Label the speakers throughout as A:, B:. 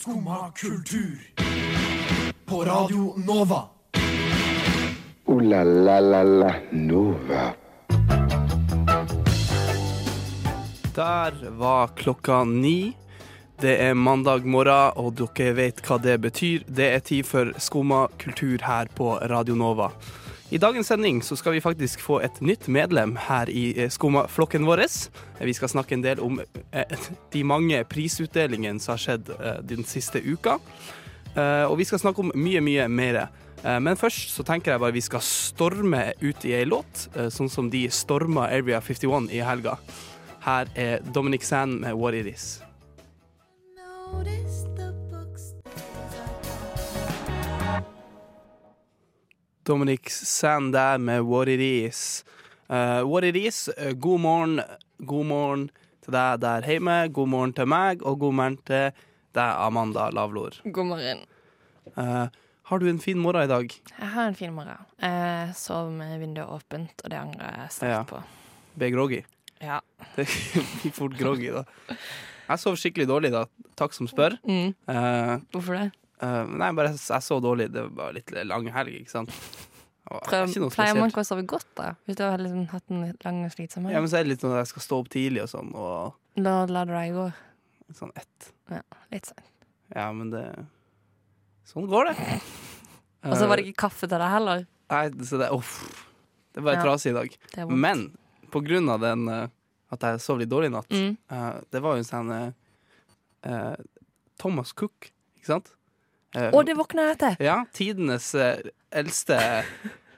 A: Skumma kultur. På Radio Nova.
B: Ooh Uh, la la la la Nova.
C: Der var klokka ni. Det er mandag morgen, og dere vet hva det betyr. Det er tid for Skumma kultur her på Radio Nova. I dagens sending så skal vi faktisk få et nytt medlem her i eh, Skumma-flokken vår. Vi skal snakke en del om eh, de mange prisutdelingene som har skjedd eh, den siste uka. Eh, Og vi skal snakke om mye, mye mer. Eh, Men først så tenker jeg bare vi skal storme ut i ei låt, eh, sånn som de storma Area 51 i helga. Her er Dominic Sand med What It Is. Dominic Sand der med What It Is. Eh, what It Is, eh, god morgen, god morgen til deg der hjemme, god morgen til meg, og god morgen til deg, Amanda Lavlor.
D: God morgen.
C: Eh, har du en fin morgen i dag?
D: Jeg har en fin morgen. Jeg sov med vinduet åpent, og det angrer jeg sterkt
C: Ja.
D: på.
C: Be groggy.
D: Ja.
C: Det blir fort groggy, da. Jeg sov skikkelig dårlig, da. Takk som spør.
D: Mm.
C: Eh,
D: Hvorfor det?
C: Eh, nei, bare jeg, jeg så dårlig. Det var litt lang helg, ikke sant. Og det er
D: Prøv,
C: ikke noe
D: pleier man
C: spesielt.
D: ikke å sove godt, da? Hvis du har liksom hatt en lang og slitsom
C: Ja,
D: helg?
C: men så er det litt sånn at jeg skal stå opp tidlig og sånn, og
D: Da la du deg i går.
C: sånn ett.
D: Litt sånn.
C: Ja, men det Sånn går det.
D: Og så var det ikke kaffe til deg heller.
C: Eh, Nei, så det Uff. Det var
D: Ja.
C: trasig i dag.
D: Det er vondt.
C: Men på grunn av den eh, at jeg sov litt dårlig i natt,
D: Mm.
C: eh, det var jo en sånn eh, eh, Thomas Cook, ikke sant? Eh,
D: Og det våkna jeg til!
C: Ja, tidenes eh, eldste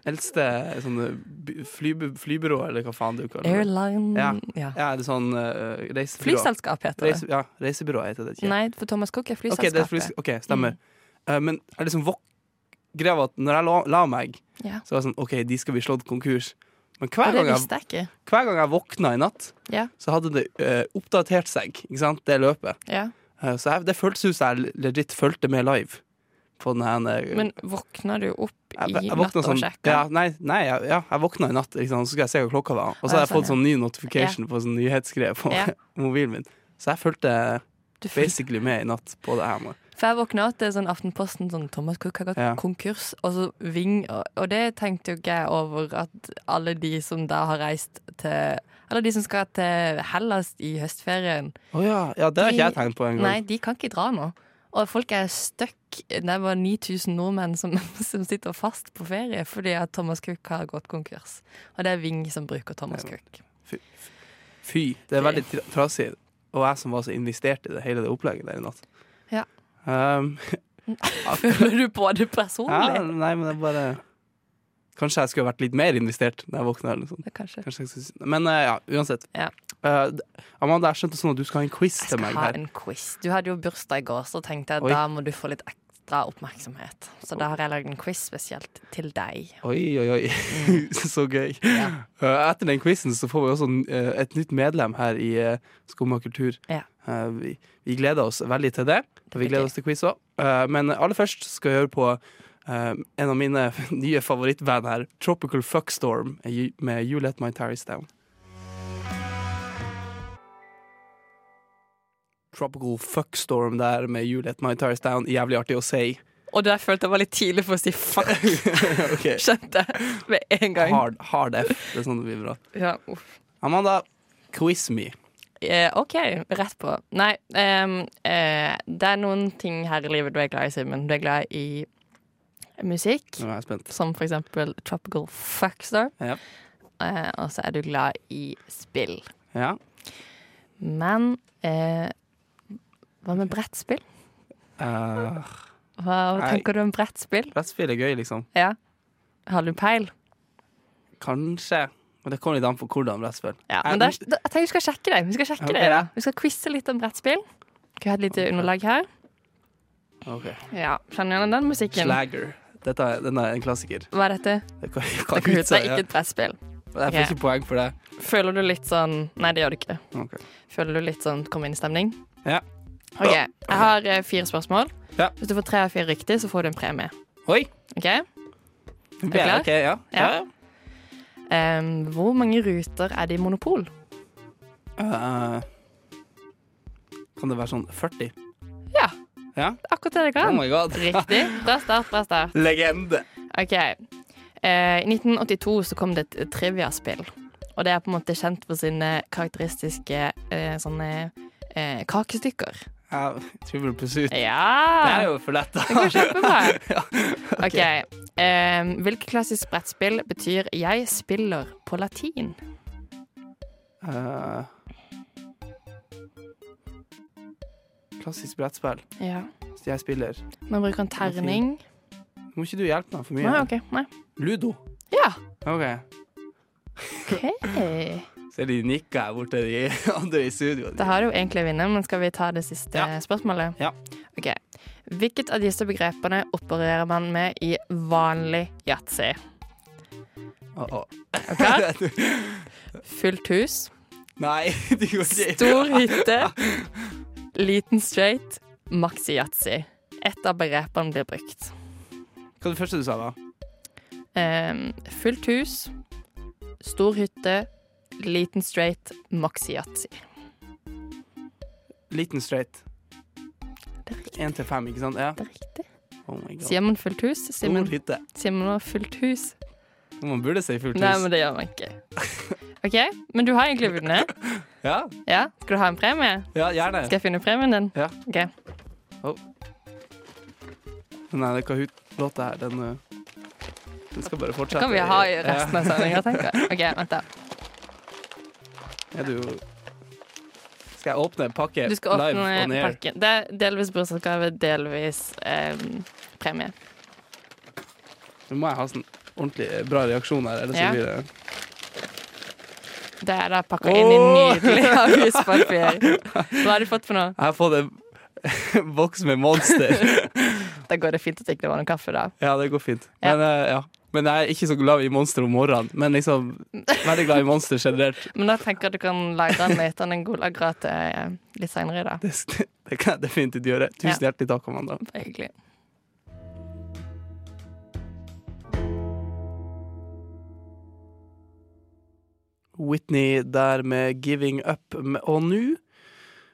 C: Eldste sånn eh, by- flyby, flybyrå, eller hva faen du kaller det.
D: Airline
C: Ja.
D: ja.
C: Ja, det er sånn eh, reisebyrå.
D: Flyselskap heter det.
C: Reise, ja, reisebyrå heter det ikke.
D: Nei, for Thomas Cook er
C: Ok, det er flys-
D: flyselskapet.
C: ok, stemmer. Eh, men jeg liksom våk greia var at når jeg la, la meg,
D: Ja.
C: så var det sånn OK, de skal bli slått konkurs. Men
D: Og
C: hver
D: det
C: gang, jeg,
D: visste jeg ikke.
C: hver gang jeg våkna i natt,
D: Ja.
C: så hadde det eh, oppdatert seg, ikke sant, det løpet.
D: Ja.
C: Eh, så jeg, det føltes ut som jeg legit fulgte med live på den her eh,
D: Men våkna du opp i
C: jeg, jeg
D: natt
C: våkna
D: og
C: sånn,
D: sjekka?
C: ja, nei, nei jeg, ja, jeg våkna i natt, ikke sant, så skulle jeg se hva klokka var. Og så
D: Ja,
C: har jeg fått
D: sånn,
C: sånn ny notification på sånn nyhetsgreie på
D: Ja.
C: mobilen min. Så jeg fulgte
D: Du fikk
C: basically med i natt på det her. nå.
D: For jeg våkna at det er sånn Aftenposten sånn Thomas Cook har gått
C: Ja.
D: konkurs, og så Ving og, og det tenkte jo ikke jeg over at alle de som da har reist til Eller de som skal til Hellas i høstferien,
C: Å ja. ja, det har ikke jeg
D: De-
C: tenkt på
D: nei,
C: engang.
D: de kan ikke dra nå. Og folk er stuck. Det er bare 9000 nordmenn som, som sitter fast på ferie fordi at Thomas Cook har gått konkurs. Og det er Ving som bruker Thomas Cook.
C: Fy, det er
D: Fy.
C: veldig tra- trasig. Og jeg som var så investert i det hele det opplegget der i natt.
D: Ja.
C: Um,
D: Føler du på det
C: ja,
D: personlig?
C: nei, men det er bare Kanskje jeg skulle vært litt mer investert da jeg våkna. Eller noe sånt.
D: Ja. Kanskje.
C: Kanskje jeg skulle... si- Men eh, ja, uansett.
D: Ja.
C: Eh, d- Amanda, jeg skjønte sånn at du skal ha en quiz
D: Jeg
C: til meg
D: skal ha
C: her.
D: en quiz. Du hadde jo bursdag i går, så tenkte jeg
C: Oi.
D: da må du få litt ekstra oppmerksomhet. Så da har jeg lagd en quiz spesielt til deg.
C: Oi, oi, oi. så gøy.
D: Mm. Ja.
C: Eh, etter den quizen så får vi også en, eh, et nytt medlem her i uh, Skumma kultur.
D: Ja.
C: Eh, vi, vi gleder oss veldig til det.
D: Det
C: vi
D: blir gøy.
C: gleder oss til quiz òg. men aller først skal jeg høre på eh, en av mine nye favorittband her, Tropical Fuckstorm, eh, med You Let My Tarries Down. Tropical Fuckstorm der med You Let My Tarries Down. Jævlig artig å si.
D: Og det der følte jeg var litt tidlig for å si fuck,
C: Ok.
D: skjønte jeg med en gang.
C: Hard, hard F. Det er sånn det blir bra.
D: Ja, uff.
C: Amanda, quiz me.
D: Eh, OK, rett på. Nei, ehm, eh, det er noen ting her i livet du er glad i, Simen. Du er glad i musikk,
C: Nå er jeg spent.
D: som for eksempel Tropical Fuckstar.
C: Ja.
D: Eh, og så er du glad i spill.
C: Ja.
D: Men eh, hva med brettspill?
C: Eh,
D: Hva
C: Nei.
D: tenker du om brettspill?
C: brettspill er gøy, liksom.
D: Ja. Har du peil?
C: Kanskje. Men det kommer litt an på hvordan Eh, brettspill.
D: Ja,
C: Jeg-
D: men det er- da- jeg tenker vi skal sjekke deg. Vi skal sjekke
C: Ok,
D: deg da.
C: ja.
D: Vi skal quize litt om brettspill. Skal vi ha et lite underlag her?
C: Ok.
D: Ja, Kjenner du igjen den musikken?
C: Slagger. Dette er, den er en klassiker.
D: Hva er dette?
C: Det kan, kan
D: Det
C: ut seg,
D: er ikke et brettspill.
C: ja. Jeg får ikke poeng for det.
D: Føler du litt sånn Nei, det gjør du ikke.
C: Ok.
D: Føler du litt sånn kom inn-stemning?
C: Ja.
D: OK. Jeg har eh, fire spørsmål.
C: Ja.
D: Hvis du får tre av fire riktig, så får du en premie.
C: Oi!
D: OK?
C: Er
D: klar?
C: Ok, ja. ja.
D: Ja. Em, hvor mange ruter er det i Monopol?
C: Eh, kan det være sånn 40?
D: Ja.
C: Ja.
D: Akkurat det det
C: Oh
D: kan.
C: my god.
D: Riktig. Bra start, bra start.
C: Legende.
D: OK. Eh, I 1982 så kom det et triviaspill. Og det er på en måte kjent for sine karakteristiske eh, sånne eh, kakestykker.
C: Jeg tror vi plutselig ut. Det er
D: Ja!
C: jo for lett, da.
D: Det går kjempebra. OK.
C: ok.
D: Eh, hvilket klassisk brettspill betyr 'jeg spiller' på latin?
C: Eh, klassisk brettspill.
D: Ja.
C: Så jeg spiller.
D: Man bruker en terning.
C: Må ikke du hjelpe meg for mye?
D: Nei, OK. Nei.
C: Ludo.
D: Ja.
C: OK.
D: OK.
C: Så de nikker her borte, de andre i studio.
D: Da har du jo egentlig vunnet, men skal vi ta det siste
C: Ja.
D: spørsmålet?
C: Ja.
D: Ok. Hvilket av disse begrepene opererer man med i vanlig yatzy?
C: Åh, åh.
D: Ok? Fullt hus,
C: Nei, det går ikke.
D: stor hytte, liten straight, maxi yatzy. Ett av begrepene blir brukt.
C: Hva var det første du sa, da?
D: Ehm, fullt hus, stor hytte, liten straight, maxi yatzy.
C: Liten straight.
D: Det er riktig.
C: Én til fem, ikke sant? Ja.
D: Det er riktig.
C: Oh my god.
D: Sier man fullt hus, sier man,
C: Stor hytte.
D: sier man fullt hus.
C: Man burde si fullt hus.
D: Nei, men det gjør man ikke. OK, men du har egentlig vunnet.
C: ja?
D: Ja, Skal du ha en premie?
C: ja, gjerne.
D: Skal jeg finne premien din?
C: Ja.
D: Ok.
C: Nei, det er Kahoot-låta her. Den, uh, den skal bare
D: Det
C: fortsette.
D: kan vi ha i resten av sendinga, tenker jeg. OK, vent da.
C: Er du Skal jeg åpne en pakke
D: Du skal
C: live on
D: åpne
C: air?
D: pakken. Det er delvis bursdagsgave, delvis eh, premie.
C: Nå må jeg ha sånn ordentlig bra reaksjon her, ellers
D: Ja.
C: så blir det
D: Det er da pakka inn i
C: Åh!
D: nydelig avispapir. Hva har du fått for noe?
C: Jeg har fått en boks med Monster.
D: Da går det fint at det ikke var noe kaffe, da.
C: Ja, det går fint.
D: Ja.
C: Men, eh, ja. men jeg er ikke så glad i monstre om morgenen. Men liksom veldig glad i monstre generelt.
D: Men da tenker jeg at du kan lage den litt, den er god lagra til eh, litt seinere i dag.
C: Det, det kan jeg definitivt gjøre. Tusen hjertelig takk, Amanda.
D: Det er hyggelig.
C: Whitney der med 'Giving Up'. med- Og nå,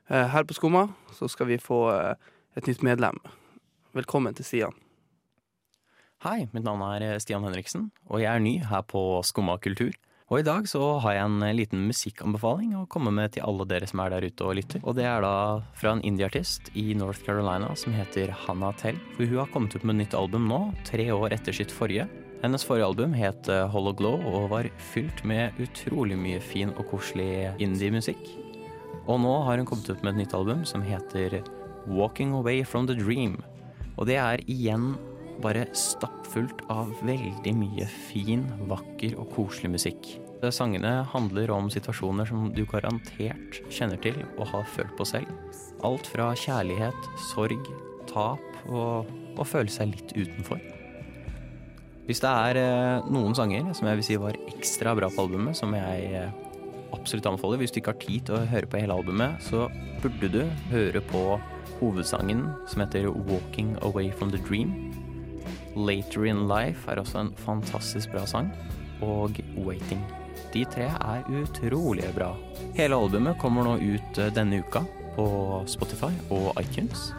C: eh, her på Skumma, så skal vi få eh, et nytt medlem. Velkommen til Stian.
E: Hei, mitt navn er eh, Stian Henriksen, og jeg er ny her på Skumma kultur. Og i dag så har jeg en eh, liten musikkanbefaling å komme med til alle dere som er der ute og lytter. Og det er da fra en indieartist i North Carolina som heter Hannah Tell. For hun har kommet ut med nytt album nå, tre år etter sitt forrige. Hennes forrige album het eh, Hollow Glow og var fylt med utrolig mye fin og koselig indie-musikk. Og nå har hun kommet ut med et nytt album som heter Walking Away From The Dream. Og det er igjen bare stappfullt av veldig mye fin, vakker og koselig musikk. Eh, Sangene handler om situasjoner som du garantert kjenner til og har følt på selv. Alt fra kjærlighet, sorg, tap og å føle seg litt utenfor. Hvis det er eh, noen sanger som jeg vil si var ekstra bra på albumet, som jeg eh, absolutt anbefaler. Hvis du ikke har tid til å høre på hele albumet, så burde du høre på hovedsangen som heter 'Walking Away From The Dream'. 'Later In Life' er også en fantastisk bra sang. Og 'Waiting'. De tre er utrolig bra. Hele albumet kommer nå ut eh, denne uka på Spotify og iTunes.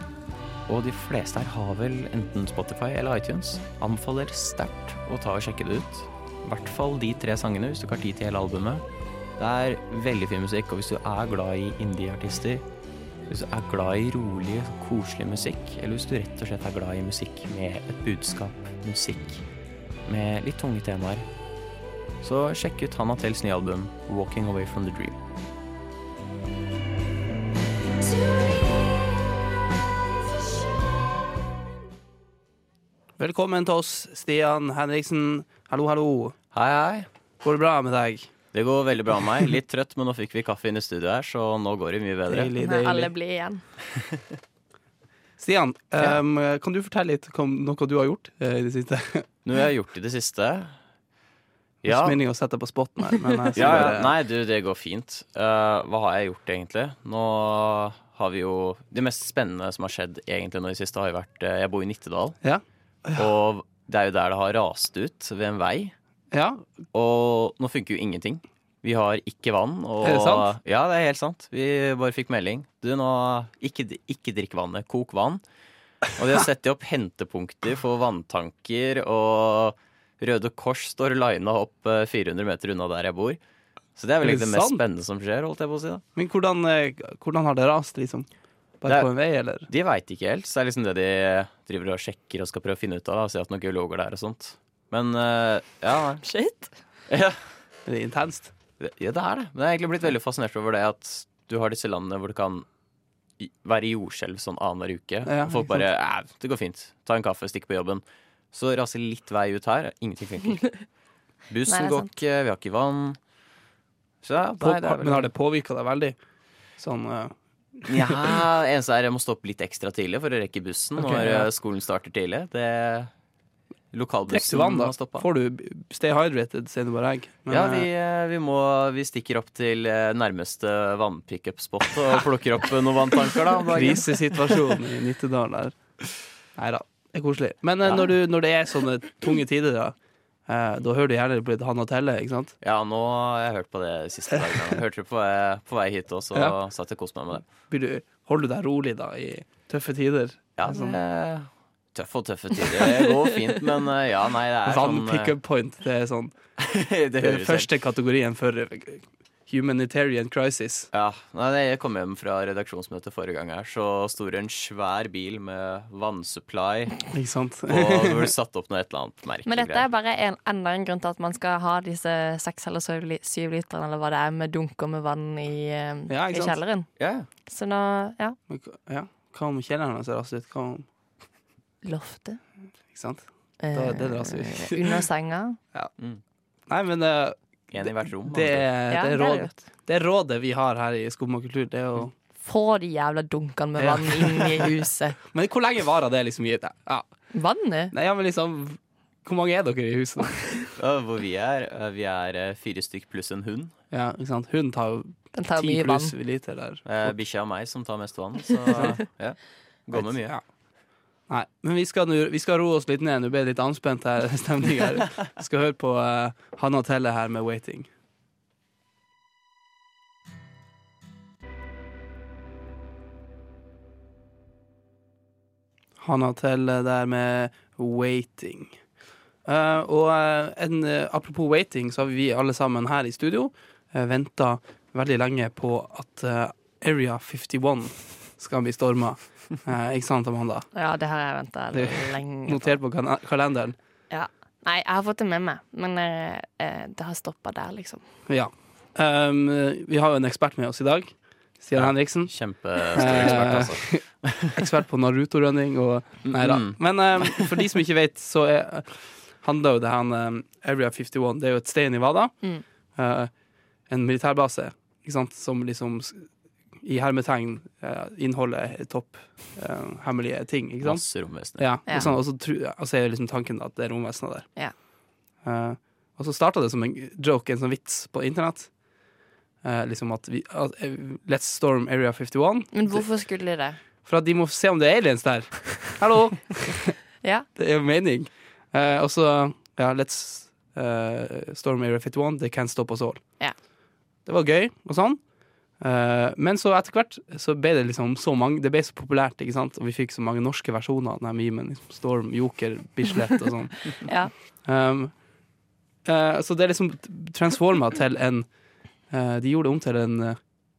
E: Og de fleste her har vel enten Spotify eller iTunes. Anbefaler sterkt å ta og sjekke det ut. I hvert fall de tre sangene, hvis du ikke har tid til hele albumet. Det er veldig fin musikk, og hvis du er glad i indie-artister, hvis du er glad i rolig, koselig musikk, eller hvis du rett og slett er glad i musikk med et budskap, musikk med litt tunge temaer, så sjekk ut Hannah Tells nye album 'Walking Away From The Dream'.
C: Velkommen til oss, Stian Henriksen. Hallo, hallo.
E: Hei, hei.
C: Går det bra med deg?
E: Det går veldig bra med meg. Litt trøtt, men nå fikk vi kaffe inn i studio her, så nå går det mye bedre.
C: Deilig,
D: Nei, alle
C: deilig.
D: blir igjen.
C: Stian, em, kan du fortelle litt om noe du har gjort eh, i det siste?
E: Noe jeg har gjort i det siste
C: Ja. Ikke meningen å sette deg på spotten her, men jeg skal
E: Ja, ja.
C: bare-
E: Nei, du, det går fint. Eh, hva har jeg gjort, egentlig? Nå har vi jo Det mest spennende som har skjedd egentlig nå i det siste, har jo vært eh, Jeg bor i Nittedal,
C: Ja.
E: og det er jo der det har rast ut ved en vei.
C: ja.
E: Og nå funker jo ingenting. Vi har ikke vann. Og,
C: Er det sant?
E: Ja, det er helt sant. Vi bare fikk melding. Du, nå Ikke, ikke drikk vannet. Kok vann. Og de har satt opp hentepunkter for vanntanker, og Røde Kors står lina opp eh, 400 meter unna der jeg bor. Så det er vel
C: Er det
E: egentlig det mest
C: sant?
E: spennende som skjer, holdt jeg på å si. da.
C: Men hvordan, eh, hvordan har det rast, liksom? Bare
E: Det er-
C: på en vei, eller?
E: De veit ikke helt, så det er liksom det de driver og sjekker og skal prøve å finne ut av. da, og Se at noen geologer der og sånt. Men eh, ja, nei.
D: Shit.
E: ja.
C: Er det intenst?
E: Det- Ja, det er det. Men jeg er egentlig blitt veldig fascinert over det at du har disse landene hvor det kan i- være jordskjelv sånn annenhver uke.
C: Ja,
E: og folk
C: ikke sant.
E: bare Æ, det går fint. Ta en kaffe, stikk på jobben. Så raser litt vei ut her. Ingenting funker.
D: Nei,
E: Bussen
D: det er
E: går
D: sant.
E: ikke, vi har ikke vann. Så ja,
C: På,
E: nei, det er vel
C: men har det påvirka deg veldig? Sånn eh,
E: Ja, eneste er jeg må stoppe litt ekstra tidlig for å rekke bussen
C: Ok,
E: når
C: ja.
E: eh, skolen starter tidlig. Det
C: Trekk
E: Lokalbussen
C: til vann, da.
E: må stoppe.
C: Får du stay hydrated, sier du bare jeg. Men,
E: ja,
C: eh,
E: vi, eh, vi, må, vi stikker opp til eh, nærmeste vannpickup-spot og plukker opp eh, noen vanntanker. da. om dagen.
C: Krisesituasjonen i Nittedal der. Nei da, det er koselig. Men eh,
E: Ja.
C: når, du, når det er sånne tunge tider, da, eh, da hører du gjerne på litt Han og Telle, ikke sant?
E: Ja, nå har jeg hørt på det de siste dagene. Jeg Hørte det på, vei- på vei hit også, og
C: Ja.
E: satt og koste meg med det.
C: Blir du, holder du deg rolig da i tøffe tider?
E: Ja, sånn eh, Tøff og tøffe tider. Det går fint, men eh, ja, nei, det er
C: Vann
E: sånn eh,
C: pickup point, det er sånn
E: Det
C: det er
E: høres helt
C: første kategorien for eh, humanitarian crisis.
E: ja, nei, Jeg kom hjem fra redaksjonsmøtet forrige gang her, så sto det en svær bil med vannsupply,
C: Ikke sant?
E: og det ble satt opp noe et eller annet merkelig.
D: Men dette er bare en, enda en grunn til at man skal ha disse seks eller syv li- syv literne, eller hva det er, med dunker med vann i, eh,
C: Ja, ikke
D: i
C: sant?
D: kjelleren.
E: ja, ja.
D: Så nå, ja.
C: Men hva- Ja, hva om kjelleren hans er rast ut? Hva om
D: Loftet.
C: Ikke sant?
D: eh,
C: Da- det dras ut.
D: Under senga.
C: Nei, men eh,
E: En i hvert rom. altså.
C: det, er, det,
D: Ja, det
C: er
D: er
C: råd,
D: lurt.
C: det er rådet vi har her i Skum og kultur, det er å
D: Få de jævla dunkene med
C: Ja.
D: vann inn i huset.
C: Men hvor lenge varer det liksom i ja.
D: Vannet?
C: Nei, ja, men liksom Hvor mange er dere i huset? nå?
E: Ja, hvor vi er, eh, vi er eh, fire stykk pluss en hund.
C: Ja, ikke sant? Hun tar jo
D: Den tar
C: ti
D: mye vann.
C: pluss liter der.
E: Eh, Bikkja og meg som tar mest vann, så ja. Går med mye.
C: Ja. Nei, men vi skal, nu- vi skal roe oss litt ned. Nå ble det litt anspent her, stemning her. Vi skal høre på eh, Hanna Telle her med 'Waiting'. Hanna Telle der med 'Waiting'. Eh, og eh, en, eh, apropos waiting, så har vi alle sammen her i studio uh, venta veldig lenge på at eh, Area 51 skal bli storma. Eh, ikke sant, Amanda?
D: Ja, det har jeg venta
C: Det-
D: lenge på.
C: Notert på kana- kalenderen.
D: Ja. Nei, jeg har fått det med meg, men eh, eh, det har stoppa der, liksom.
C: Ja. Um, vi har jo en ekspert med oss i dag. Stian
E: Ja.
C: Henriksen.
E: Kjempestor
C: Eh,
E: ekspert, altså.
C: Ekspert på Naruto-running og Nei da.
E: Mm.
C: Men um, for de som ikke vet, så er, handler jo det her um, Area 51 Det er jo et sted i Nevada.
D: Mm.
C: Eh, en militærbase, ikke sant, som liksom s- i hermetegn eh, inneholder topp eh, hemmelige ting, ikke sant?
E: Masse romvesener.
C: Ja,
D: Ja.
C: og sånn, og så tru- og så er liksom tanken da, at det er romvesener der.
D: Ja.
C: Eh, og så starta det som en joke, en sånn vits på internett. Eh, liksom at, vi, at eh, Let's storm Area 51.
D: Men hvorfor skulle de det?
C: For at de må se om det er aliens der. Hallo!
D: Ja.
C: Det er jo mening. Eh, og så ja, Let's eh, storm Area 51. They can't stop us all.
D: Ja.
C: Det var gøy og sånn. Eh, men så etter hvert så ble det liksom så mange Det ble så populært, ikke sant? og vi fikk så mange norske versjoner av den her memen. Liksom Storm, Joker, Bislett og sånn.
D: ja.
C: Um, eh, så det er liksom transforma til en eh, De gjorde det om til en eh,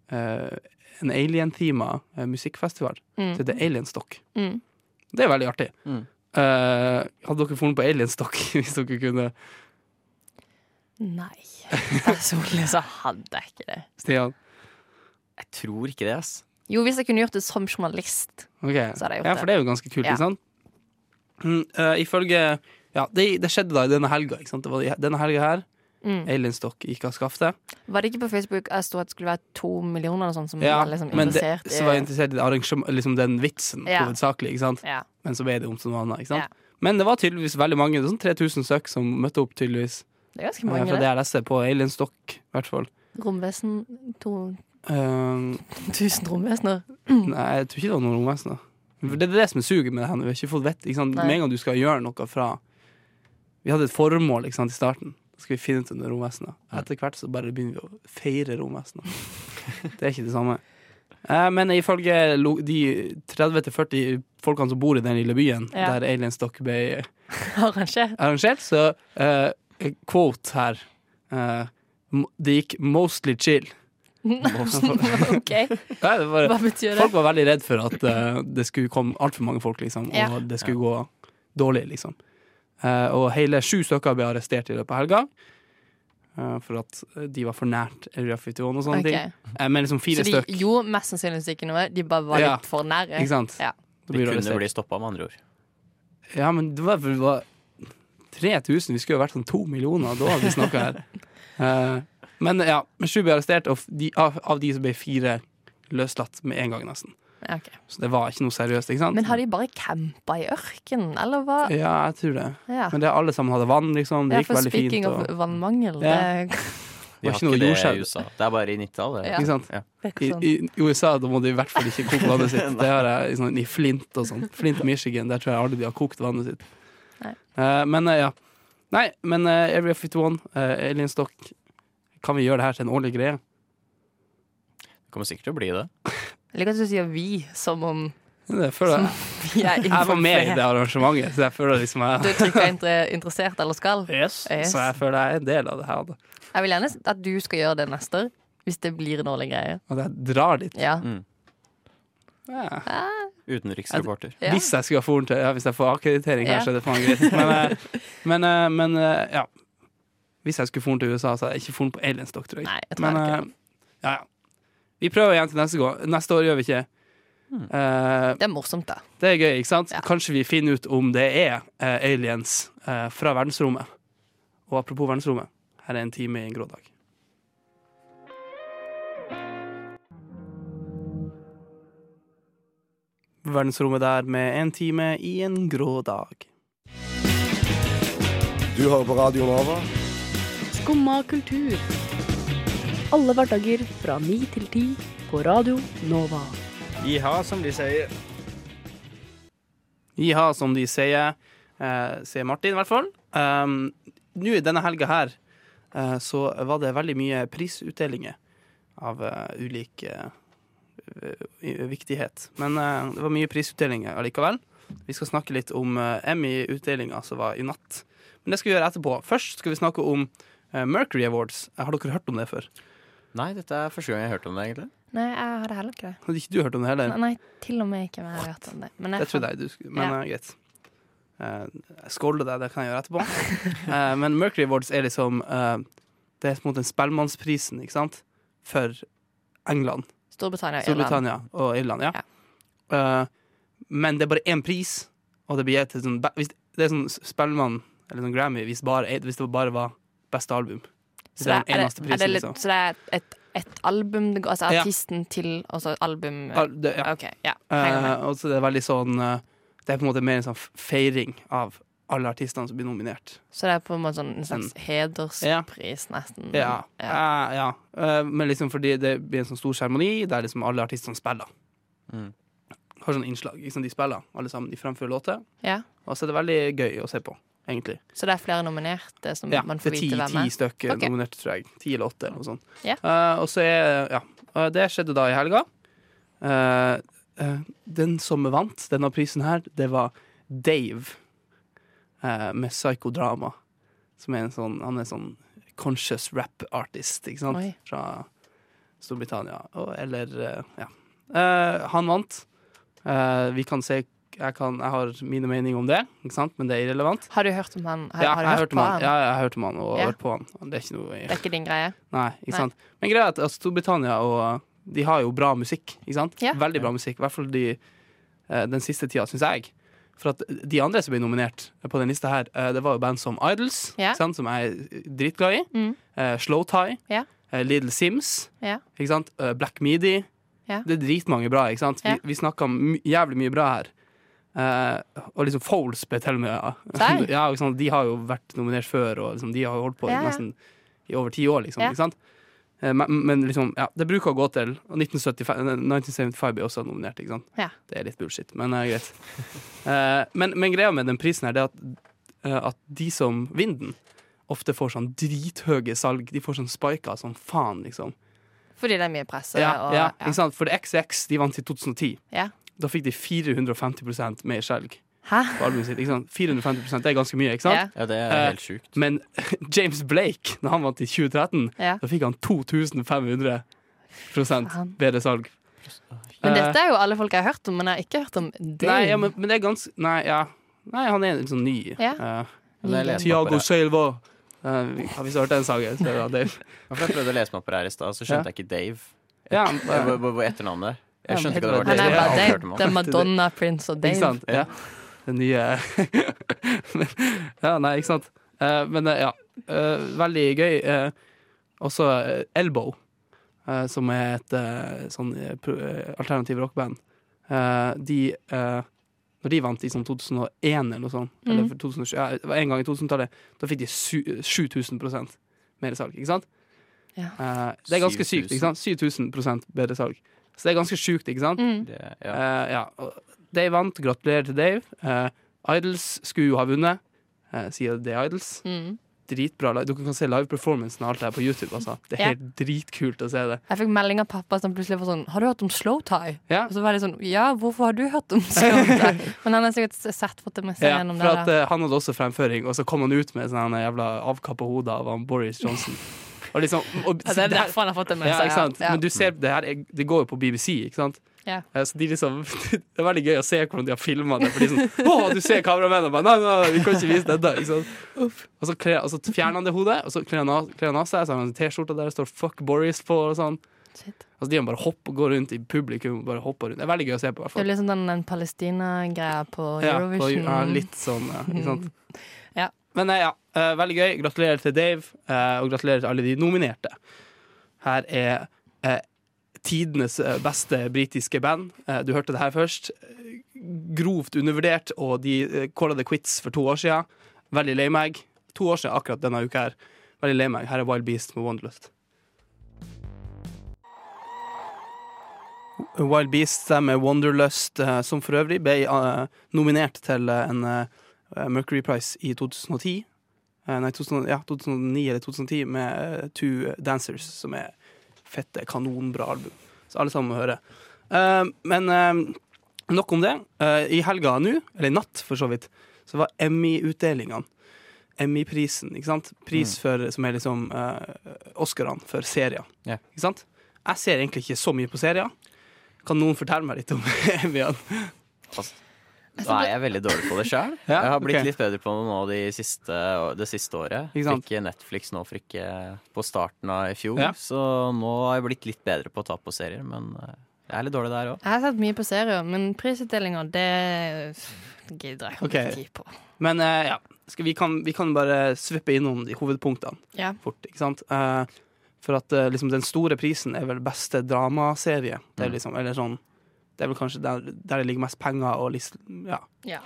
C: eh, En alien-thema eh, musikkfestival.
D: Mm.
C: Så det er Alienstock.
D: Mm.
C: Det er veldig artig.
E: Mm.
C: Eh, hadde dere funnet på alienstock hvis dere kunne
D: Nei. Personlig så hadde jeg ikke det.
C: Stian?
E: Jeg tror ikke det, ass.
D: Jo, hvis jeg kunne gjort det som journalist.
C: Ok.
D: Så hadde jeg gjort
C: ja,
D: det.
C: for det er jo ganske kult,
D: Ja.
C: ikke sant? Mm, eh, ifølge Ja, det, det skjedde da i denne helga, ikke sant? Det var i- denne helga her.
D: Mm.
C: Alienstock gikk av skaftet.
D: Var det ikke på Facebook jeg sto at det skulle være to millioner eller sånn som
C: Ja,
D: var liksom
C: men det,
D: interessert
C: så var jeg interessert i det arrangement, liksom den vitsen
D: Ja.
C: hovedsakelig, ikke sant?
D: ja.
C: Men så ble det om til noe annet, ikke sant?
D: Ja.
C: Men det var tydeligvis veldig mange, det var sånn 3000 søk som møtte opp, tydeligvis.
D: Det er ganske
C: eh,
D: mange,
C: Fra det jeg leste på Alienstock, i hvert fall.
D: det. Romvesen to-
C: Eh,
D: 1000 romvesener.
C: Nei, jeg tror ikke det var noen romvesener. For Det er det som er suget med det her. nå. Vi har ikke fått vett, ikke sant?
D: Nei.
C: Med en gang du skal gjøre noe fra Vi hadde et formål ikke sant, i starten. Da skal vi finne ut om det er romvesener. Etter hvert så bare begynner vi å feire romvesener. Det er ikke det samme. Eh, Men ifølge lo- de 30-40 folkene som bor i den lille byen
D: Ja.
C: der Alien Stock ble
D: Arrangert.
C: arrangert, så eh, quote her eh, m- Det gikk mostly chill.
D: OK.
C: Nei, det var,
D: Hva betyr det?
C: folk var veldig redd for at eh, det skulle komme altfor mange folk, liksom, og
D: Ja.
C: det skulle gå dårlig, liksom. Eh, og hele sju stykker ble arrestert i løpet av helga. eh, for at de var for nært Area 51 og sånne
D: Ok.
C: ting. Eh, men liksom
D: Så
C: fire
D: de
C: stykk,
D: gjorde mest sannsynligvis ikke noe, de bare var
C: Ja.
D: litt for nære.
C: ikke sant?
D: Ja.
C: Da
E: Vi
C: blir du
E: kunne
C: arrestert.
E: bli stoppa, med andre ord.
C: Ja, men det var, det var 3000. Vi skulle jo vært sånn to millioner da hadde vi snakka her. Eh, men ja, men sju ble arrestert, og f- de, av, av de så ble fire løslatt med en gang, nesten.
D: Ja, ok.
C: Så det var ikke noe seriøst, ikke sant?
D: Men har de bare campa i ørkenen, eller hva?
C: Ja, jeg tror det.
D: Ja,
C: Men det alle sammen hadde vann, liksom. Det
D: ja
C: gikk
D: for
C: veldig
D: speaking
C: fint. Og,
D: of vannmangel, det
C: Ja.
E: Vi
C: Det
E: har
C: var ikke noe
E: ikke det
C: jordskjelv.
E: i USA. Det er bare i 90-tallet.
D: Ja.
C: Ikke sant?
D: virker
C: I,
D: sånn.
C: I i USA da må de i hvert fall ikke koke vannet sitt. Det har jeg i sånn, i Flint og sånn. Flint, Michigan. Der tror jeg aldri de har kokt vannet sitt.
D: Nei.
C: Eh, men eh, ja. Nei, men eh, Area 51, uh, Alien Stock Kan vi gjøre det her til en årlig greie?
E: Det kommer sikkert til å bli det.
D: Jeg liker at du sier vi, som om
C: Det føler jeg.
D: vi er
C: jeg var med i det
D: involvert.
C: arrangementet, så jeg føler liksom
D: Du
C: jeg
D: trykker inter- interessert eller skal.
C: Yes.
D: Yes.
C: Så jeg føler jeg er en del av det her. da.
D: Jeg vil gjerne at du skal gjøre det neste år, hvis det blir en årlig greie.
C: At jeg drar dit.
D: Ja.
C: Ja.
E: Utenriksreporter.
D: Ja.
C: Hvis jeg skulle ha foren til ja, Hvis jeg får akkreditering her,
D: Ja.
C: så er det faen greit. Men, eh, men, eh, men eh, ja. Hvis jeg skulle foren til USA, så hadde jeg ikke foren på Aliens, dere, tror jeg.
D: Nei, jeg tror
C: Men
D: ikke
C: eh, ja, ja. Vi prøver igjen til neste, gå- neste år, gjør vi ikke?
D: Hmm.
C: Eh,
D: det. Det er morsomt, da.
C: det er gøy, ikke sant?
D: Ja.
C: Kanskje vi finner ut om det er eh, aliens eh, fra verdensrommet. Og apropos verdensrommet, her er en time i en grå dag. Verdensrommet der med en time i en grå dag.
F: Du hører på Radio Nova.
G: Skumma kultur. Alle hverdager fra ni til ti på Radio Nova.
H: Jiha, som de sier.
C: Jiha, som de sier, eh, sier Martin i hvert fall. Um, Nå denne helga her eh, så var det veldig mye prisutdelinger av eh, ulik eh, eh, viktighet. Men eh, det var mye prisutdelinger allikevel. Vi skal snakke litt om eh, Emmy-utdelinga som var i natt. Men det skal vi gjøre etterpå. Først skal vi snakke om eh, Mercury Awards. Har dere hørt om det før?
E: Nei, dette er første gang jeg har hørt om det, egentlig.
D: Nei, jeg hadde heller ikke det.
C: Hadde ikke du hørt om det heller?
D: Nei, nei til og med ikke jeg har hørt om det. Men
C: Det trodde jeg du skulle, men
D: Ja.
C: eh, greit. Eh, jeg skåler deg, det kan jeg gjøre etterpå. Eh, men Mercury Awards er liksom eh, Det er på en måte Spellemannsprisen, ikke sant? For England,
D: Storbritannia og Irland.
C: Storbritannia og Irland. Ja. Eh, men det er bare én pris, og det blir gitt til sånn be- hvis, Det er sånn Spellemann eller sånn Grammy hvis, bare, hvis det bare var beste album.
D: Så det, er, er, det, er det litt,
C: liksom.
D: så det er et, et album, det går- altså
C: Ja.
D: artisten til Og så album
C: Al- det, ja.
D: OK, ja. Henger med.
C: Eh, og så det er veldig sånn eh, Det er på en måte mer en sånn feiring av alle artistene som blir nominert.
D: Så det er på en måte sånn en slags hederspris, nesten.
C: mm. Ja.
D: Ja.
C: Eh, ja. Eh, men liksom fordi det blir en sånn stor seremoni der liksom alle artistene spiller.
E: Mm.
C: Har sånn innslag. Liksom de spiller, alle sammen. De fremfører låter.
D: Ja.
C: Og så er det veldig gøy å se på, egentlig.
D: Så det er flere nominerte som
C: Ja,
D: man
C: det
D: får
C: er ti,
D: vite hvem
C: ti
D: er?
C: stykker
D: Ok.
C: nominerte, tror jeg. Ti eller åtte, eller noe sånt.
D: Ja.
C: Eh, og så er Ja. Eh, det skjedde da i helga. Eh, eh, den som vant denne prisen her, det var Dave eh, med Psykodrama. Som er en sånn Han er en sånn conscious rap artist, ikke sant?
D: Oi.
C: Fra Storbritannia. Og, eller eh, Ja. Eh, han vant. Eh, vi kan se jeg, kan, jeg har mine meninger om det, ikke sant? men det er irrelevant
D: Har du hørt om han? Har,
C: ja,
D: har du
C: jeg
D: hørt
C: hørte om
D: på
C: han.
D: han?
C: Ja, jeg hørte om han og
D: Ja.
C: hørt på han. Det er ikke noe
D: Det er ikke din greie?
C: Nei, ikke
D: Nei.
C: sant. Men greia er at altså, Storbritannia og De har jo bra musikk, ikke sant?
D: Ja.
C: Veldig bra musikk. I hvert fall de, eh, den siste tida, syns jeg. For at eh, de andre som ble nominert på den lista her, eh, det var jo band som Idols,
D: Ja.
C: ikke sant? som jeg er dritglad i.
D: Mm.
C: Eh, Slow Tie.
D: Ja.
C: eh, Little Sims.
D: Ja.
C: Ikke sant? Eh, Black Midi.
D: Ja.
C: Det er dritmange bra, ikke sant? Vi,
D: Ja.
C: vi snakka my jævlig mye bra her. Eh, og liksom Foles ble til og med ja.
D: Serr?
C: ja, ikke sant? De har jo vært nominert før, og liksom, de har jo holdt på
D: Ja, ja.
C: nesten i over ti år, liksom.
D: Ja.
C: Ikke sant? Eh, Men, men liksom, ja, det bruker å gå til. Og 1975, eh, 1975 ble også nominert, ikke sant.
D: Ja.
C: Det er litt bullshit, men eh, greit. Eh, men, men greia med den prisen her, det er at, eh, at de som vinner den, ofte får sånn drithøye salg. De får sånn spiker som faen, liksom.
D: Fordi det er mye presse.
C: Ja,
D: og,
C: ja, ikke sant? For XX de vant i 2010.
D: Ja.
C: Da fikk de 450 mer skjelg
D: Hæ?
C: på albumet sitt. Ikke sant? 450 det er ganske mye, ikke sant?
D: Ja,
E: Ja, det er
C: Eh,
E: helt sjukt.
C: Men James Blake, når han vant i 2013,
D: ja.
C: da fikk han 2500
D: Faen.
C: bedre salg.
D: Men
C: Eh,
D: dette er jo alle folk jeg har hørt om, men jeg har ikke hørt om det.
C: Nei, ja, men, men det er ganske Nei, ja. nei han er litt sånn ny.
D: Ja.
C: Eh,
E: Men jeg leste meg
C: Tiago
E: opp på det.
C: Silva. Eh, vi- har vi så hørt den sangen? Så er det av Dave.
E: Ja, for Jeg prøvde å lese meg opp på det her i stad, så
C: Ja.
E: skjønte jeg ikke Dave.
C: Ja,
E: Eh, Hvor
C: eh,
E: hvor- hvor er etternavnet? Jeg
C: Ja,
E: skjønte
C: men
E: ikke hva det var.
C: det
D: Han er
C: Jeg
E: har
D: bare
E: aldri
D: Dave.
E: hørt om han.
D: Det er Madonna, Prince og
C: ikke
D: Dave.
C: sant? Ja. Den nye Men- Ja, nei, ikke sant. Eh, men eh, ja. Eh, veldig gøy. Eh, også eh, Elbow, eh, som er et eh, sånn eh, pro- eh, alternativ rockband. Eh, de eh, Når de vant i sånn 2001 eller noe sånt, eller
D: Mhm.
C: for 2007, ja, det var en gang i 2000-tallet, da fikk de su- 7000 mer salg, ikke sant?
D: Ja.
C: Eh, det er ganske sykt, ikke sant? 7000 bedre salg. Så det er ganske sjukt, ikke sant?
D: Mm.
E: Det-
C: Ja.
E: ja.
C: Eh, ja. og Dave vant. Gratulerer til Dave. Eh, Idols skulle jo ha vunnet, eh, sier The Idols.
D: Mm.
C: Dritbra. li- Dere kan se live-performancen av alt det her på YouTube. Altså. Det er
D: Ja.
C: helt dritkult å se det.
D: Jeg fikk melding av pappa som plutselig var sånn Har du hørt om slow tie?
C: Ja.
D: Og så var det sånn Ja, hvorfor har du hørt om slow tie? Men han har sikkert sett fått det med seg
C: Ja,
D: gjennom
C: for at
D: det. der.
C: eh, Han hadde også fremføring, og så kom han ut med sånne jævla avkappa hode av han Boris Johnson. Og liksom, og,
D: Ja, det er derfor han har fått det med
C: Ja,
D: seg.
C: ikke sant?
D: Ja.
C: Men du ser, det her er, det går jo på BBC, ikke sant?
D: Ja.
C: Eh, Så de liksom, det er veldig gøy å se hvordan de har filma det. For de er sånn, Å, du ser kameramennene bare Nei, nei, nei, vi kan ikke vise dette. Ikke sant? Og, så kler, og så fjerner han det hodet, og så kler han av, kler han av seg, så har han en T-skjorte der det står 'fuck Boris' på. og sånn
D: Shit.
C: Altså De bare hopper og går rundt i publikum. Bare hopper rundt Det er veldig gøy å se på. i hvert
D: Det er
C: fall
D: jo liksom den, den Palestina-greia på
C: ja, på,
D: Eurovision. Mm.
C: ja, litt sånn, ja, ikke sant?
D: Ja.
C: Men eh, ja, eh, veldig gøy. Gratulerer til Dave, eh, og gratulerer til alle de nominerte. Her er eh, tidenes eh, beste britiske band. Eh, du hørte det her først. Eh, Grovt undervurdert, og de eh, calla det quits for to år siden. Veldig lei meg. To år siden akkurat denne uka her. Veldig lei meg. Her er Wild Beast med Wanderlust. Wild Beast der med Wanderlust, eh, som for øvrig ble eh, nominert til eh, en eh, Mercury Prize i 2010. Eh, nei, 2000, ja, 2009 eller 2010 med eh, Two Dancers, som er fette, kanonbra album. Så alle sammen må høre. Eh, men eh, nok om det. Eh, I helga nå, eller i natt for så vidt, så var Emmy-utdelingene. Emmy-prisen, ikke sant?
E: Mm.
C: Pris for, som er liksom eh, Oscarene for serier.
E: Ja.
C: Ikke sant? Jeg ser egentlig ikke så mye på serier. Kan noen fortelle meg litt om Evian?
E: Da er jeg veldig dårlig på det sjøl.
C: Ja,
E: Jeg har blitt
C: ok.
E: litt bedre på det nå de siste, det siste året.
C: Ikke sant?
E: Fikk Netflix nå for ikke på starten av i fjor,
C: Ja.
E: så nå har jeg blitt litt bedre på å ta på serier, men eh, jeg er litt dårlig der òg.
D: Jeg har sett mye på serier, men prisutdelinger, det gidder jeg ikke
C: Ok.
D: tid på.
C: Men eh, ja, Skal vi, kan, vi kan bare svippe innom de hovedpunktene
D: Ja.
C: fort. ikke sant? Eh, for at eh, liksom, den store prisen er vel beste dramaserie.
D: Mm.
C: Det er, liksom, eller sånn, det er vel kanskje der, der det ligger mest penger og lis- ja,
D: Ja.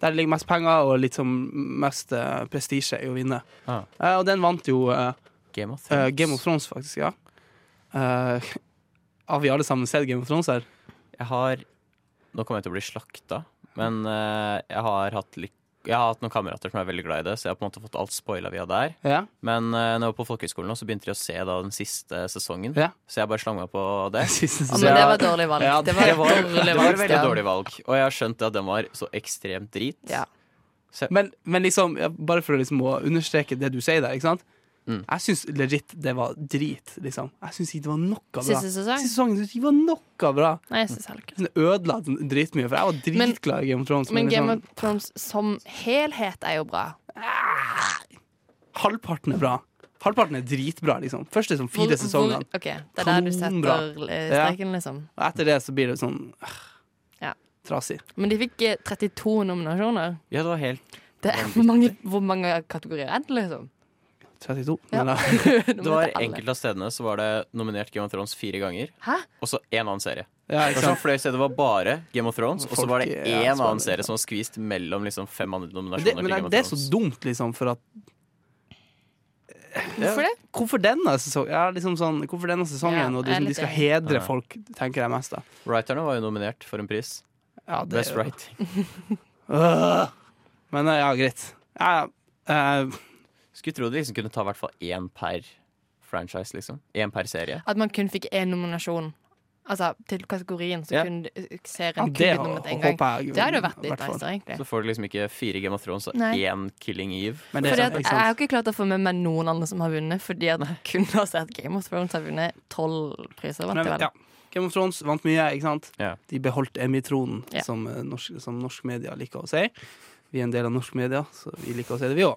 C: der det ligger mest penger og liksom mest eh, prestisje i å vinne.
E: Ah.
C: Eh, og den vant jo eh,
E: Game of
C: eh,
E: Thrones.
C: Game of Thrones, faktisk. ja. Eh, har vi alle sammen sett Game of Thrones her?
E: Jeg har Nå kommer jeg til å bli slakta, men eh, jeg har hatt litt jeg har hatt noen kamerater som er veldig glad i det, så jeg har på en måte fått alt spoila via der.
C: Ja.
E: Men eh, når jeg var på folkehøyskolen, nå, så begynte de å se da, den siste sesongen.
C: Ja.
E: Så jeg bare slang meg på det.
C: Siste
D: Ja,
C: sesong.
E: Så
D: men det
E: jeg-
D: var dårlig valg.
E: Ja,
D: det var et
E: var-
D: dårlig
E: det var
D: valg.
E: et veldig
D: Stian.
E: dårlig valg. Og jeg har skjønt at den var så ekstremt drit.
D: Ja.
C: Men, men liksom, ja, bare for å liksom å understreke det du sier der, ikke sant?
E: Mm.
C: Jeg syns legit det var drit, liksom. Jeg syns ikke det var noe bra.
D: Siste sesong?
C: Siste sesongen synes jeg ikke var noe bra.
D: Nei, jeg synes heller ikke det.
C: Den ødela den dritmye, for jeg var
D: Men-
C: dritglad i Game of Thrones. Men,
D: Men Game
C: liksom,
D: of Thrones som helhet er jo bra.
C: halvparten er bra. Halvparten er dritbra, liksom. Første sånn fire sesongene.
D: Ok, Det er der du
C: Kanonbra.
D: setter eh, streken, liksom.
C: Og etter det så blir det sånn øh,
D: Ja.
C: trasig.
D: Men de fikk eh, 32 nominasjoner.
E: Ja, det var helt
D: Det er hvor mange, hvor mange kategorier er det, liksom?
C: 32.
D: Ja.
C: Men, øh, da-
E: Det var enkelte av stedene så var det nominert Game of Thrones fire ganger,
D: Hæ?
E: og så én annen serie.
C: ja, ikke
E: Det var sånn
C: sant?
E: flere steder var bare Game of Thrones, og så var det
C: Folk,
E: én
C: ja,
E: annen
C: spennende.
E: serie som var skvist mellom liksom fem andre
C: Men
E: nominasjoner.
C: det, men
E: til
C: det,
E: Game of
C: det er så
E: Thrones.
C: dumt, liksom, for at
D: Hvorfor det?
C: Hvorfor denne sesongen? Ja, liksom sånn, hvorfor denne sesongen?
D: Ja,
C: og
D: jeg
C: liksom,
D: er litt
C: de skal
D: enig.
C: hedre
E: Ja.
C: folk, tenker jeg mest. da
E: Writerne var jo nominert for en pris.
C: Ja, det
E: Best
C: er jo-
E: writing.
C: Øh. Men eh, ja, greit. Ja, ja. Eh,
E: Skulle tro de liksom kunne ta i hvert fall én per. franchise, liksom. Én per serie.
D: At man kun fikk én nominasjon. Altså til kategorien, så
E: Ja.
D: kunne eh, serien
C: Ja,
D: kun
C: det
D: blitt nominert én gang.
C: håper jeg.
D: Det hadde jo vært
C: i
D: litt
C: hvert fall.
D: nice, da, egentlig.
E: Så får du liksom ikke fire Game of Thrones og
D: Nei.
E: én Killing Eve.
C: Men det, sånn, liksom-
D: Fordi at
C: ikke
D: Jeg
C: sant?
D: har ikke klart å få med meg noen andre som har vunnet, fordi at kun å se at Game of Thrones har vunnet tolv priser. Vant
C: Men,
D: de vel?
C: ja. Game of Thrones vant mye, ikke sant?
E: Ja.
C: De beholdt Emmy-tronen,
D: Ja.
C: som, eh, norsk- som norsk media liker å si. Vi er en del av norsk media, så vi liker å si det, vi òg.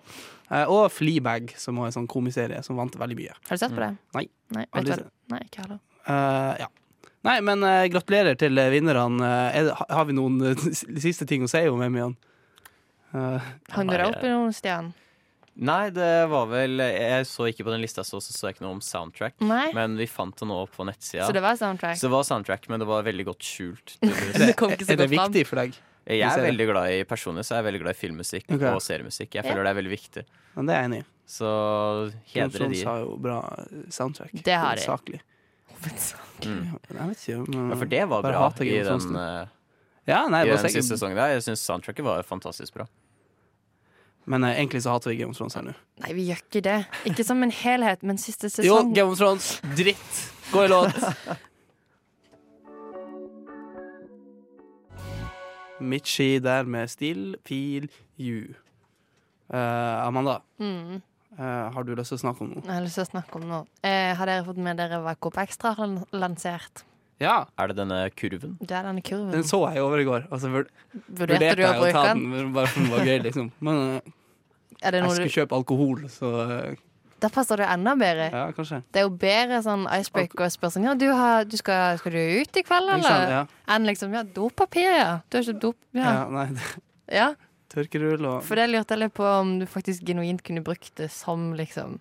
C: Og Fleabag, som var en sånn komiserie som vant veldig mye.
D: Har du sett på det?
C: Mm. Nei.
D: Nei,
C: Aldri
D: vet du hva?
C: sett.
D: Nei ikke heller.
C: Eh, ja. Nei, men eh, gratulerer til eh, vinnerne. Eh, er det- ha- har vi noen eh, s- siste ting å si om Emmyene? Eh,
D: Hang du deg
E: Nei,
D: opp i noen stjerner?
E: Nei, det var vel Jeg så ikke på den lista, så så, så jeg ikke noe om soundtrack.
D: Nei.
E: Men vi fant det nå på nettsida.
D: Så det var soundtrack?
E: Så det var soundtrack, men det var veldig godt skjult.
D: Det kom ikke så
C: er det
D: godt fram.
C: viktig for deg?
E: Jeg
C: Vi ser
E: er
C: det.
E: veldig glad i personlig, så jeg er veldig glad i filmmusikk
C: Ok.
E: og seriemusikk. Jeg
D: Ja.
E: føler det er veldig viktig.
C: Men det er jeg enig i.
E: Så
C: Game of
E: hedre de.
C: Thrones har jo bra eh, soundtrack.
D: Det har de.
C: Saklig.
E: Mm.
C: Jeg vet ikke, men
E: Ja, for det var
C: Bare
E: bra
C: hater
E: i
C: Game of Thrones
E: den,
C: nå.
E: eh,
C: Ja, nei,
E: i
C: bare
E: den
C: sikkert-
E: siste sesongen der. Jeg syns soundtracket var fantastisk bra.
C: Men eh, egentlig så hater vi Game of Thrones her nå.
D: Nei, vi gjør ikke det. Ikke som en helhet, men siste
C: Jo,
D: sesong.
C: Game of Thrones, dritt. Gå i låt. Mitchie der med Still Pil You. Eh, Amanda,
D: Mm.
C: eh, har du lyst til å snakke om noe?
D: Jeg har lyst til å snakke om noe. Eh, har dere fått med dere hva Coop Extra har lan- lansert?
C: Ja,
E: Er det denne kurven?
D: Det er denne kurven.
C: den så jeg over i går. Altså, vur-
D: Vurderte
C: vurderte
D: du å
C: jeg å
D: bruke
C: ta
D: den?
C: den, men bare for den var gøy, liksom. Men eh,
D: Er det
C: jeg
D: noe du...
C: skulle kjøpe alkohol, så eh,
D: Da passer det jo enda bedre.
C: ja, kanskje.
D: Det er jo bedre sånn icebreaker og spørsmål. Ja, du har, du skal, skal du ut i kveld,
C: Ikke sant?
D: eller?
C: Ja,
D: Enn liksom ja, dopapir, ja. Du har ikke dop...
C: ja,
D: Ja.
C: nei,
D: ja.
C: tørkerull og
D: For det lurte jeg litt på om du faktisk genuint kunne brukt det som liksom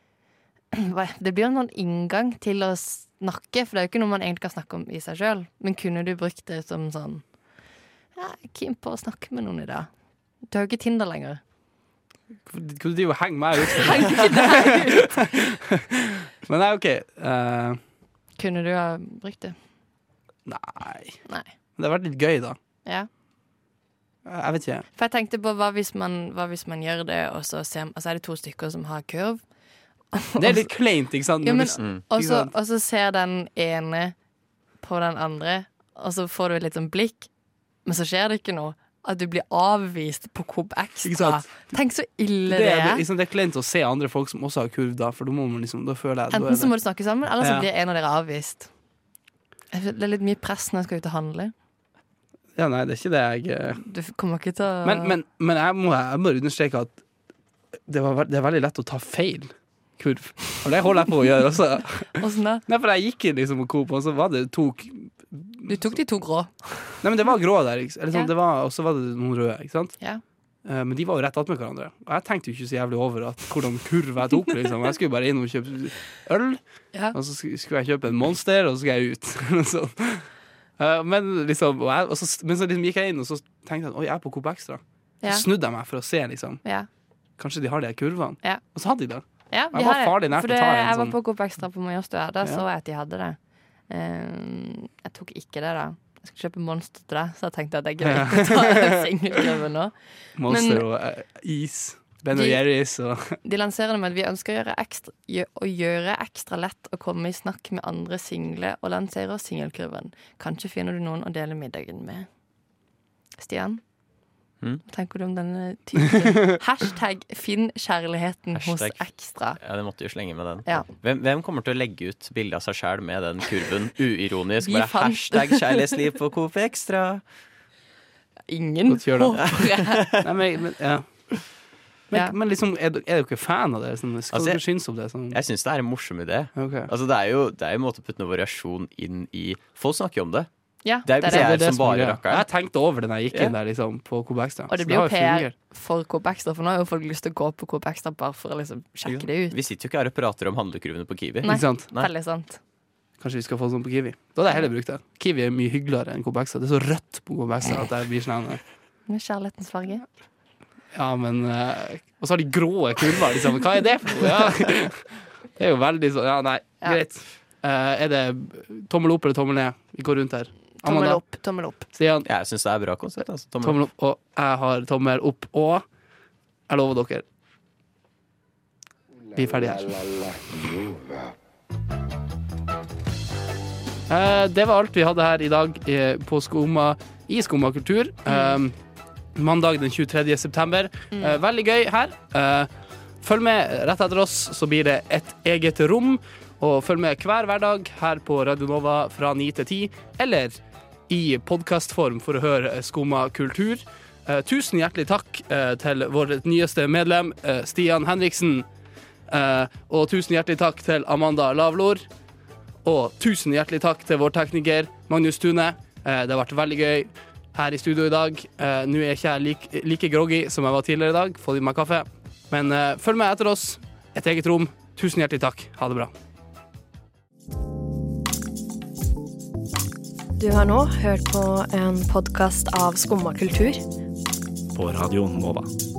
D: Hva- Det blir jo en sånn inngang til å snakke, for det er jo ikke noe man egentlig kan snakke om i seg sjøl. Men kunne du brukt det som sånn ja, Jeg er keen på å snakke med noen i dag. Du har jo ikke Tinder lenger.
C: Kunne du jo henge meg ut?
D: Heng deg ut.
C: Men nei, OK. eh,
D: Kunne du ha brukt det?
C: Nei.
D: Nei.
C: Det har vært litt gøy, da.
D: Ja.
C: Jeg vet ikke.
D: For jeg tenkte på hva hvis man, hva hvis man gjør det, og så ser, altså er det to stykker som har kurv.
C: Det er litt kleint, ikke sant?
D: Ja, men,
C: Når du-
E: Mm.
D: og,
C: Ikke
D: så,
C: sant?
D: og så ser den ene på den andre, og så får du et litt sånn blikk, men så skjer det ikke noe. At du blir avvist på Coop
C: Ikke
D: Extra.
C: sant?
D: Tenk så ille
C: det,
D: det
C: er,
D: er.
C: liksom, det er kleint å se andre folk som også har kurv, da, for da må man liksom Da føler jeg da er
D: Enten så
C: det.
D: må du snakke sammen, eller så
C: Ja.
D: blir en av dere avvist. Jeg føler Det er litt mye press når jeg skal ut og handle.
C: Ja, nei, det er ikke det jeg eh.
D: Du f- kommer ikke til å
C: Men, men, men jeg må jeg må understreke at det, var, ve- det er veldig lett å ta feil kurv. Og det holder jeg på å gjøre også.
D: Åssen da?
C: Nei, for jeg gikk inn liksom på Coop, og så var det to k-
D: Du tok de to grå.
C: Nei, men det var grå der, ikke, s- eller
D: Ja.
C: sånn, det var, og så var det noen røde, ikke sant?
D: Ja.
C: Eh, Men de var jo rett attmed hverandre. Og jeg tenkte jo ikke så jævlig over at, hvordan kurv jeg tok. Liksom. Jeg skulle bare inn og kjøpe øl,
D: Ja.
C: og så sk- skulle jeg kjøpe en Monster, og så skulle jeg ut. Og så- Eh, men liksom, og jeg, og så, men så liksom gikk jeg inn, og så tenkte jeg at oi, jeg er på Coop Extra.
D: Ja.
C: Så snudde jeg meg for å se, liksom.
D: ja.
C: Kanskje de har de her kurvene.
D: Ja.
C: Og så hadde de det.
D: Ja,
C: Jeg
D: de
C: var
D: har det.
C: farlig nær
D: For
C: til å
D: det-
C: ta en sånn-
D: Jeg var på Coop Extra på Majorstua.
C: Ja.
D: Da så jeg at de hadde det. Ehm, jeg tok ikke det, da. Jeg skulle kjøpe Monster til deg, så jeg tenkte at det er gøy å ta en singelkurve nå.
C: Monster
D: Men-
C: og eh, is. Ben og
D: De-
C: Jerry's og
D: De lanserer det med at vi ønsker å gjøre, ekstra, gjø- å gjøre ekstra lett å komme i snakk med andre single, og lanserer singelkurven. Kanskje finner du noen å dele middagen med. Stian?
E: Mm?
D: Hva tenker du om denne typen? Hashtag 'finn kjærligheten
E: Hashtag-
D: hos ekstra'.
E: Ja, det måtte jo slenge med den.
D: Ja.
E: Hvem, hvem kommer til å legge ut bilde av seg sjæl med den kurven? Uironisk.
D: Vi
E: Bare
D: fant-
E: hashtag kjærlighetsliv på Coop Extra.
D: Ingen
C: Godt gjør det.
D: håper jeg.
C: Nei, men, men, ja. men,
D: Ja.
C: men liksom, er, du- er du ikke fan av det? Sånn, skal
E: Altså,
C: dere
E: jeg-
C: synes om det? Sånn?
E: Jeg syns det er en morsom idé.
C: Ok.
E: Altså, det er jo det er jo en måte å putte noe variasjon inn i Folk snakker jo om det.
D: Ja,
E: Det er jo
D: det
E: ikke
D: er
E: jeg
D: det.
E: som bare
C: er greia.
E: rakkeren.
C: Jeg tenkte over det da jeg gikk inn
E: Ja.
C: der liksom, på Coop Extra.
D: Og det
C: Så
D: blir jo
C: har
D: PR
C: fungert.
D: for Coop Extra, for nå har jo folk lyst til å gå på Coop Extra bare for å liksom sjekke det ut.
E: Vi sitter jo ikke her og prater om handlekurvene på Kiwi.
D: Nei.
C: Ikke sant?
E: Nei.
D: Veldig sant.
C: Kanskje vi skal få sånn på Kiwi. Da hadde jeg heller brukt det. Kiwi er mye hyggeligere enn Coop Extra. Det er så rødt på Coop Extra at jeg blir sånn her,
D: Med kjærlighetens farge.
C: Ja, men eh, Og så har de grå kurver, liksom. Hva er det for noe? Ja. Det er jo veldig sånn Ja, nei,
D: Ja.
C: greit. Eh, er det tommel opp eller tommel ned? Vi går rundt her.
D: Tommel
C: Amanda,
D: opp, tommel opp.
C: Stian,
E: Jeg syns det er bra konsept. Altså. Tommel
C: tommel opp. Og jeg har tommel opp. Og jeg lover dere, Vi er ferdige her.
B: la, Nova.
C: Eh, det var alt vi hadde her i dag eh, på Skoma, i Skoma kultur. Eh, mandag den 23. september. Eh, veldig gøy her. Eh, følg med rett etter oss, så blir det et eget rom. Og følg med hver hverdag her på Radio Nova fra 9 til 10, eller i podkastform for å høre Skoma kultur. Eh, tusen hjertelig takk eh, til vårt nyeste medlem, eh, Stian Henriksen. Eh, og tusen hjertelig takk til Amanda Lavlor. Og tusen hjertelig takk til vår tekniker Magnus Tune. Eh, Det har vært veldig gøy her i studio i dag. Eh, Nå er ikke jeg like, like groggy som jeg var tidligere i dag. Få i meg kaffe. Men eh, følg med etter oss. Et eget rom. Tusen hjertelig takk. Ha det bra.
F: Du har nå hørt på en podkast av Skumma kultur.
I: på Radio Nova.